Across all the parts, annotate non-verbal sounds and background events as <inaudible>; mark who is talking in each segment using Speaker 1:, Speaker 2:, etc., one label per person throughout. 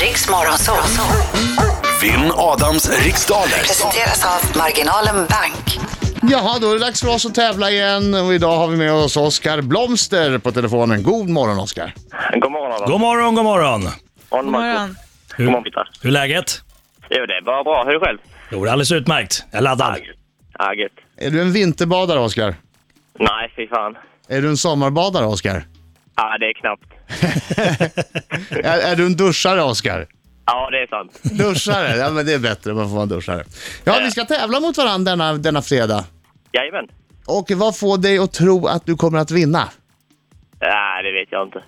Speaker 1: Riks Morgonzoo.
Speaker 2: Vinn Adams riksdaler.
Speaker 1: Presenteras av Marginalen Bank.
Speaker 3: Jaha, då är det dags för oss att tävla igen och idag har vi med oss Oskar Blomster på telefonen. God morgon Oskar!
Speaker 4: God morgon Adam.
Speaker 5: God morgon, god morgon!
Speaker 4: God
Speaker 6: morgon.
Speaker 4: God morgon Peter.
Speaker 5: Hur är läget?
Speaker 4: Jo det är bara bra. Hur är det själv?
Speaker 5: Jo, det är alldeles utmärkt. Jag laddar.
Speaker 4: Ja, gött.
Speaker 3: Är du en vinterbadare Oskar?
Speaker 4: Nej fy fan.
Speaker 3: Är du en sommarbadare Oskar?
Speaker 4: Ja det är knappt.
Speaker 3: Är, är du en duschare Oskar?
Speaker 4: Ja det är sant.
Speaker 3: Duschare, ja men det är bättre, man får vara en duschare. Ja, vi ska tävla mot varandra denna, denna fredag.
Speaker 4: Jajamän.
Speaker 3: Och vad får dig att tro att du kommer att vinna?
Speaker 4: Nej det vet jag inte.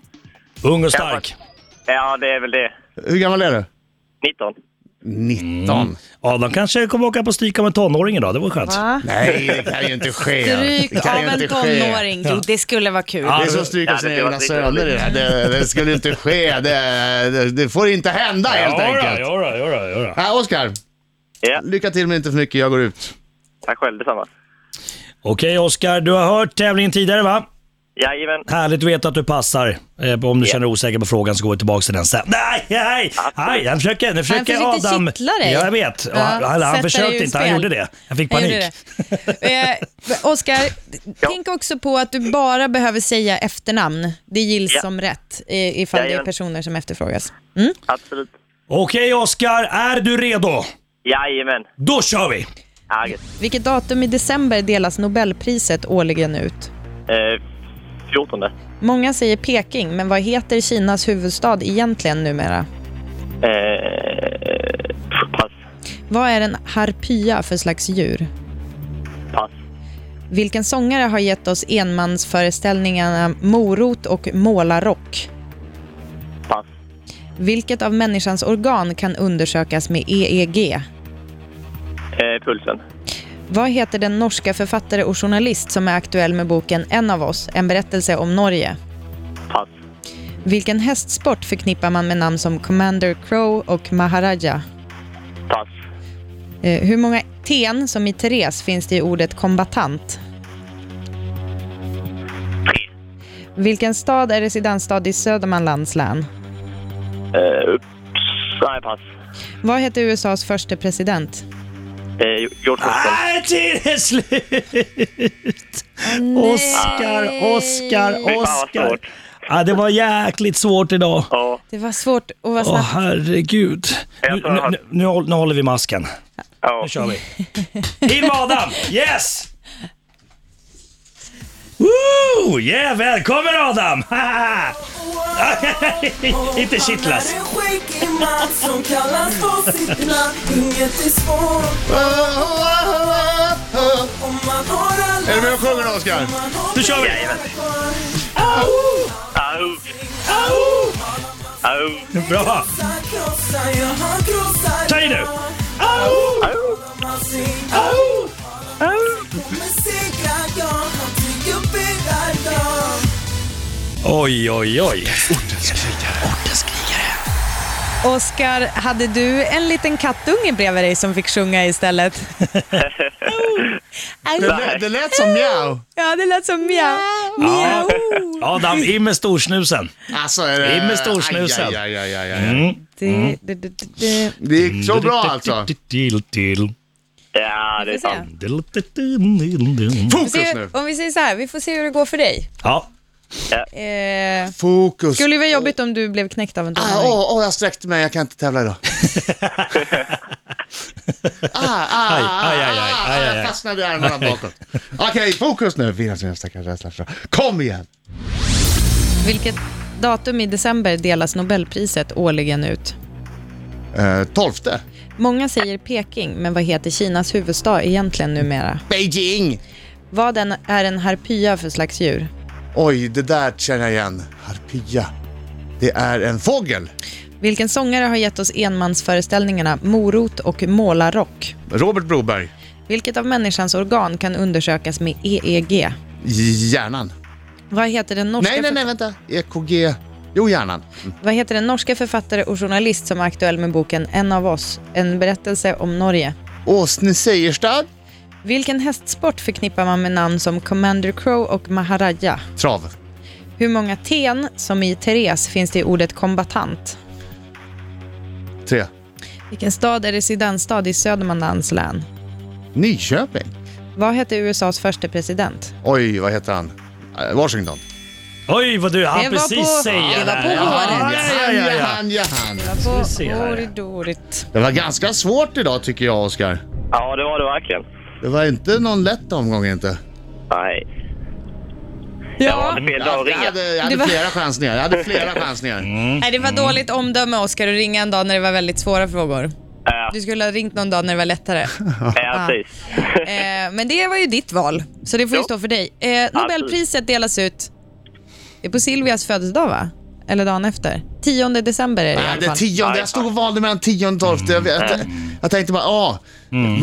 Speaker 5: Ung och stark.
Speaker 4: Ja det är väl det.
Speaker 3: Hur gammal är du?
Speaker 4: 19.
Speaker 3: 19.
Speaker 6: Mm.
Speaker 5: Adam kanske kommer åka på stryk av en tonåring idag, det vore skönt.
Speaker 6: Va?
Speaker 3: Nej, det kan ju inte ske. Det
Speaker 6: Drygt
Speaker 3: kan
Speaker 6: av
Speaker 3: ju inte
Speaker 6: en
Speaker 3: ske.
Speaker 6: tonåring. Jo, det skulle vara kul.
Speaker 5: Ja.
Speaker 3: Det är som att stryka
Speaker 4: Ja,
Speaker 3: sina
Speaker 4: det var
Speaker 3: egna
Speaker 4: lite
Speaker 3: söner i det här. Det, det skulle ju inte ske. Det, det, det får inte hända helt enkelt. Ja,
Speaker 5: Jodå, jodå, jodå.
Speaker 3: Oskar,
Speaker 4: Ja,
Speaker 3: lycka till men inte för mycket. Jag går ut.
Speaker 4: tack själv detsamma.
Speaker 5: Okej Oskar, du har hört tävlingen tidigare va?
Speaker 4: Jajamän.
Speaker 5: Härligt att veta att du passar. Eh, om du
Speaker 4: Ja.
Speaker 5: känner dig osäker på frågan så går vi tillbaka till den sen. Nej, nej, nej, han försöker, nu försöker
Speaker 6: försökte
Speaker 5: Adam.
Speaker 6: kittla dig.
Speaker 5: Ja, jag vet. Och
Speaker 6: Ja,
Speaker 5: han, han,
Speaker 6: sätta
Speaker 5: han
Speaker 6: dig
Speaker 5: försökte
Speaker 6: ur
Speaker 5: inte, han
Speaker 6: spel.
Speaker 5: gjorde det. Jag fick
Speaker 6: Jag
Speaker 5: panik.
Speaker 6: gjorde det. Eh, Oskar, tänk också på att du bara behöver säga efternamn. Det gills
Speaker 4: Ja.
Speaker 6: som rätt i- ifall det är
Speaker 4: Jajamän.
Speaker 6: personer som efterfrågas.
Speaker 4: Absolut.
Speaker 5: Okej Oskar, är du redo?
Speaker 4: Jajamän.
Speaker 5: Då kör vi!
Speaker 4: Ja gött.
Speaker 6: Vilket datum i december delas Nobelpriset årligen ut?
Speaker 4: Eh, 14. Eh,
Speaker 6: Många säger Peking, men vad heter Kinas huvudstad egentligen numera?
Speaker 4: pff, Eh, pass.
Speaker 6: Vad är en harpya för slags djur?
Speaker 4: Pass.
Speaker 6: Vilken sångare har gett oss enmansföreställningarna Morot och Målarrock?
Speaker 4: Pass.
Speaker 6: Vilket av människans organ kan undersökas med E EEG?
Speaker 4: Eh, pulsen.
Speaker 6: Vad heter den norska författare och journalist som är aktuell med boken En av oss, en berättelse om Norge?
Speaker 4: Pass.
Speaker 6: Vilken hästsport förknippar man med namn som Commander Crow och Maharaja?
Speaker 4: Pass.
Speaker 6: Eh, hur många ten som i Therese finns det i ordet kombatant?
Speaker 4: Tre.
Speaker 6: Vilken stad är residensstad i Södermanlands län?
Speaker 4: Eh, ups. Nej, pass.
Speaker 6: Vad heter USAs första president?
Speaker 4: Eh, George Washington.
Speaker 5: Nej, tiden är slut! Oskar, Oskar,
Speaker 4: Fy fan vad
Speaker 5: Oskar.
Speaker 4: svårt.
Speaker 5: Ja, det var jäkligt svårt idag.
Speaker 4: Ja,
Speaker 6: Det var svårt att vara
Speaker 5: Åh
Speaker 6: snabb.
Speaker 5: herregud. Nu,
Speaker 4: Jag tror jag har-
Speaker 5: nu, nu, håll- nu håller vi masken.
Speaker 4: ja.
Speaker 5: Nu kör vi. In med Adam! Yes! Woo! Yeah, välkommen Adam! <laughs> Haha. Inte kittlas.
Speaker 3: Är du med och sjunger då, Oskar?
Speaker 5: Nu kör vi!
Speaker 4: Au, au,
Speaker 5: Bra! Ta i nu!
Speaker 4: au.
Speaker 5: Oj, oj, oj.
Speaker 6: Oskar, hade du en liten kattunge bredvid dig som fick
Speaker 3: <laughs>
Speaker 6: sjunga istället?
Speaker 3: Det, lät- det lät som mjau.
Speaker 6: Ja, det lät som miau. Miau.
Speaker 5: Adam, in med storsnusen.
Speaker 3: Alltså, är det...
Speaker 5: In med storsnusen. Mm.
Speaker 3: Aj, aj, aj, aj, aj.
Speaker 6: Det- det- det- det- det-
Speaker 3: Det gick så bra alltså.
Speaker 4: Ja, det är
Speaker 6: Vi får
Speaker 4: sant.
Speaker 6: se. Vi
Speaker 3: Fokus
Speaker 6: ser-
Speaker 3: nu.
Speaker 6: Om vi säger så här, vi får se hur det går för dig.
Speaker 5: Ja,
Speaker 6: Eh,
Speaker 3: Fokus.
Speaker 6: skulle det vara jobbigt om du blev knäckt av en
Speaker 3: Ah,
Speaker 6: tonåring?
Speaker 3: åh, åh, jag sträckte mig. Jag kan inte tävla
Speaker 5: <laughs>
Speaker 3: idag. ah, ah, ah,
Speaker 5: aj, aj,
Speaker 3: ah, ah,
Speaker 5: aj, aj, aj.
Speaker 3: Jag fastnade i armarna bakåt. Okej, fokus nu. Fina sina stackars rädsla. Kom igen.
Speaker 6: Vilket datum i december delas Nobelpriset årligen ut?
Speaker 3: Eh, tolfte.
Speaker 6: Många säger Peking, men vad heter Kinas huvudstad egentligen numera?
Speaker 3: Beijing.
Speaker 6: Vad en- är en harpya för slags djur?
Speaker 3: Oj, det där känner jag igen. Harpia. Det är en fågel.
Speaker 6: Vilken sångare har gett oss enmansföreställningarna Morot och Målarrock?
Speaker 3: Robert Broberg.
Speaker 6: Vilket av människans organ kan undersökas med EEG?
Speaker 3: Hjärnan.
Speaker 6: Vad heter den norska,
Speaker 3: Nej, nej, nej, vänta. EKG. Jo, hjärnan.
Speaker 6: Vad heter den norska författare och journalist som är aktuell med boken En av oss, en berättelse om Norge?
Speaker 3: Åsne Seierstad.
Speaker 6: Vilken hästsport förknippar man med namn som Commander Crow och Maharaja?
Speaker 3: Trav.
Speaker 6: Hur många ten, som i Therese, finns det i ordet kombatant?
Speaker 3: Tre.
Speaker 6: Vilken stad är residensstad i Södermanlands län?
Speaker 3: Nyköping.
Speaker 6: Vad hette USAs första president?
Speaker 3: Oj, vad heter han? Eh, Washington.
Speaker 5: Oj, vad du han
Speaker 6: Det var
Speaker 5: precis
Speaker 6: på-
Speaker 5: säger.
Speaker 6: det var på
Speaker 5: där.
Speaker 6: håret.
Speaker 5: Ja, ja, ja, ja.
Speaker 3: Han, ja, han.
Speaker 5: Ska vi se här.
Speaker 6: Oridorit.
Speaker 3: Det var ganska svårt idag tycker jag, Oskar.
Speaker 4: Ja, det var det verkligen.
Speaker 3: Det var inte någon lätt omgång inte.
Speaker 4: Nej. Jag
Speaker 6: Ja,
Speaker 4: valde fel dag
Speaker 3: Jag,
Speaker 4: att
Speaker 3: jag
Speaker 4: ringa.
Speaker 3: hade, jag hade
Speaker 6: Det var-
Speaker 3: flera chansningar. Jag hade flera chansningar.
Speaker 6: Nej, det var
Speaker 3: Mm.
Speaker 6: dåligt omdöme Oskar att ringa en dag när det var väldigt svåra frågor.
Speaker 4: Ja,
Speaker 6: Du skulle ha ringt någon dag när det
Speaker 3: <laughs>
Speaker 6: var lättare.
Speaker 4: ja, precis.
Speaker 6: Eh, men det var ju ditt val, så det får ju
Speaker 4: Jo.
Speaker 6: stå för dig. Eh, Nobelpriset delas ut... Det är på Silvias födelsedag, va? Eller dagen efter. 10 december är det i
Speaker 3: Nej,
Speaker 6: alla
Speaker 3: det
Speaker 6: fall.
Speaker 3: tionde. Jag stod och valde mellan tionde och tolfte. Jag, jag, jag tänkte bara, ja.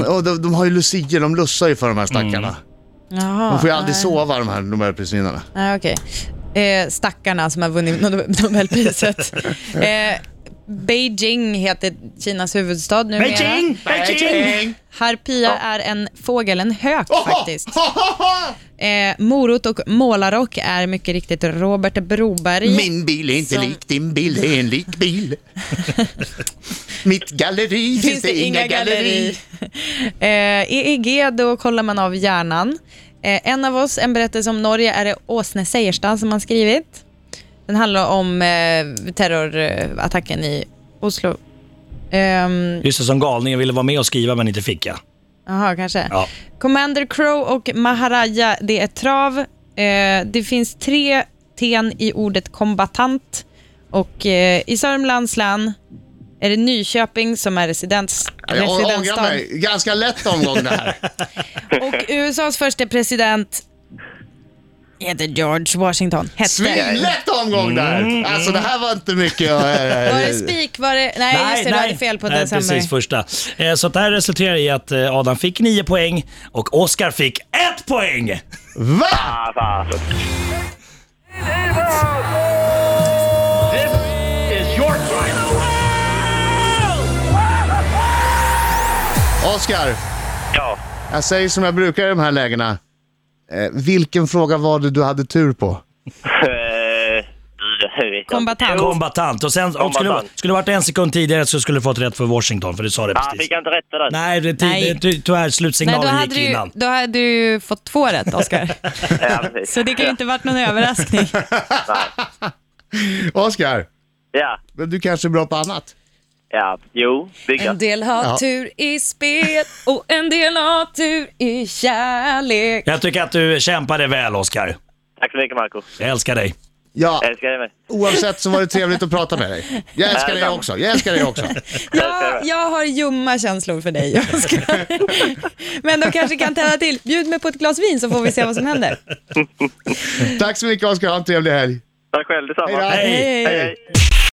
Speaker 3: Och de, de har ju lucier, de lussar ju för de här stackarna.
Speaker 6: Jaha,
Speaker 3: De får ju aldrig
Speaker 6: nej.
Speaker 3: sova de här nobelprisvinnarna.
Speaker 6: Nej, okej. Eh, stackarna som har vunnit
Speaker 3: <laughs>
Speaker 6: Nobe- <laughs> Nobelpriset. eh, Beijing heter Kinas huvudstad numera.
Speaker 5: Beijing! Beijing!
Speaker 6: Harpia är en fågel, en hök faktiskt.
Speaker 3: Ohohoho!
Speaker 6: Eh, morot och målarrock är mycket riktigt Robert
Speaker 3: <laughs>
Speaker 6: Broberg.
Speaker 3: Min bil är inte
Speaker 6: Som-
Speaker 3: lik din bil, det är en lik bil. Mitt galleri finns, det inga galleri.
Speaker 6: <laughs> eh, EEG, då kollar man av hjärnan. Eh, en av oss, en berättelse om Norge, är det Åsne Seierstad som har skrivit. Den handlar om eh, terrorattacken i Oslo. Ehm,
Speaker 5: Just det, som galningen ville vara med och skriva men inte fick ja.
Speaker 6: Jaha, kanske.
Speaker 5: Ja.
Speaker 6: Commander Crow och Maharaja, det är trav. Eh, det finns tre ten i ordet kombatant. Och eh, i Sörmlands län är det Nyköping som är residens,
Speaker 3: Jag ångrar
Speaker 6: residensstad.
Speaker 3: mig. Ganska lätt omgång det här.
Speaker 6: <laughs> Och USAs första president heter George Washington. Hette.
Speaker 3: Svinlätt omgång där! Alltså det här var inte mycket jag...
Speaker 6: Var det spik? Var det... Nej, just det, du hade fel på
Speaker 5: nej,
Speaker 6: december.
Speaker 5: precis första. Eh, Så att det här resulterar i att eh, Adam fick nio poäng och Oscar fick ett poäng.
Speaker 3: Va?
Speaker 4: Ah, fan.
Speaker 3: Oskar,
Speaker 4: Ja.
Speaker 3: jag säger som jag brukar i de här lägena. Eh, vilken fråga var det du hade tur på?
Speaker 4: Eh, jag vet inte.
Speaker 6: Kombatant.
Speaker 5: Kombatant. Och sen, om skulle,
Speaker 4: Kombatant.
Speaker 5: skulle det varit en sekund tidigare så skulle du fått rätt för Washington, för du sa det
Speaker 4: Ah,
Speaker 5: precis.
Speaker 4: fick jag inte rätta där?
Speaker 5: Nej, det,
Speaker 6: Nej.
Speaker 5: ty, ty, tyvärr
Speaker 6: Nej, då
Speaker 5: slutsignalen
Speaker 6: hade,
Speaker 5: gick
Speaker 6: du,
Speaker 5: innan.
Speaker 6: då hade du fått två
Speaker 5: <laughs>
Speaker 6: rätt, Oscar.
Speaker 4: Ja, precis.
Speaker 6: Så det kan ju inte varit någon överraskning.
Speaker 3: Oskar,
Speaker 4: Ja,
Speaker 3: men du kanske är bra på annat?
Speaker 4: ja. Jo, bygga.
Speaker 6: En del har
Speaker 3: Ja.
Speaker 6: tur i spel och en del har tur i kärlek.
Speaker 5: Jag tycker att du kämpade väl, Oscar.
Speaker 4: Tack så mycket, Marco.
Speaker 5: Jag älskar dig.
Speaker 3: Ja,
Speaker 4: Älskar dig med.
Speaker 3: oavsett så var det trevligt att prata med dig. Jag älskar dig också, jag älskar dig också.
Speaker 6: Jag, jag har ljumma känslor för dig,
Speaker 3: <laughs>
Speaker 6: Oskar. Men de kanske kan tända till. Bjud mig på ett glas vin så får vi se vad som händer.
Speaker 3: Tack så mycket Oskar, ha en trevlig helg.
Speaker 4: Tack själv, detsamma.
Speaker 3: Hej då.
Speaker 5: Hej.
Speaker 4: Hej, hej.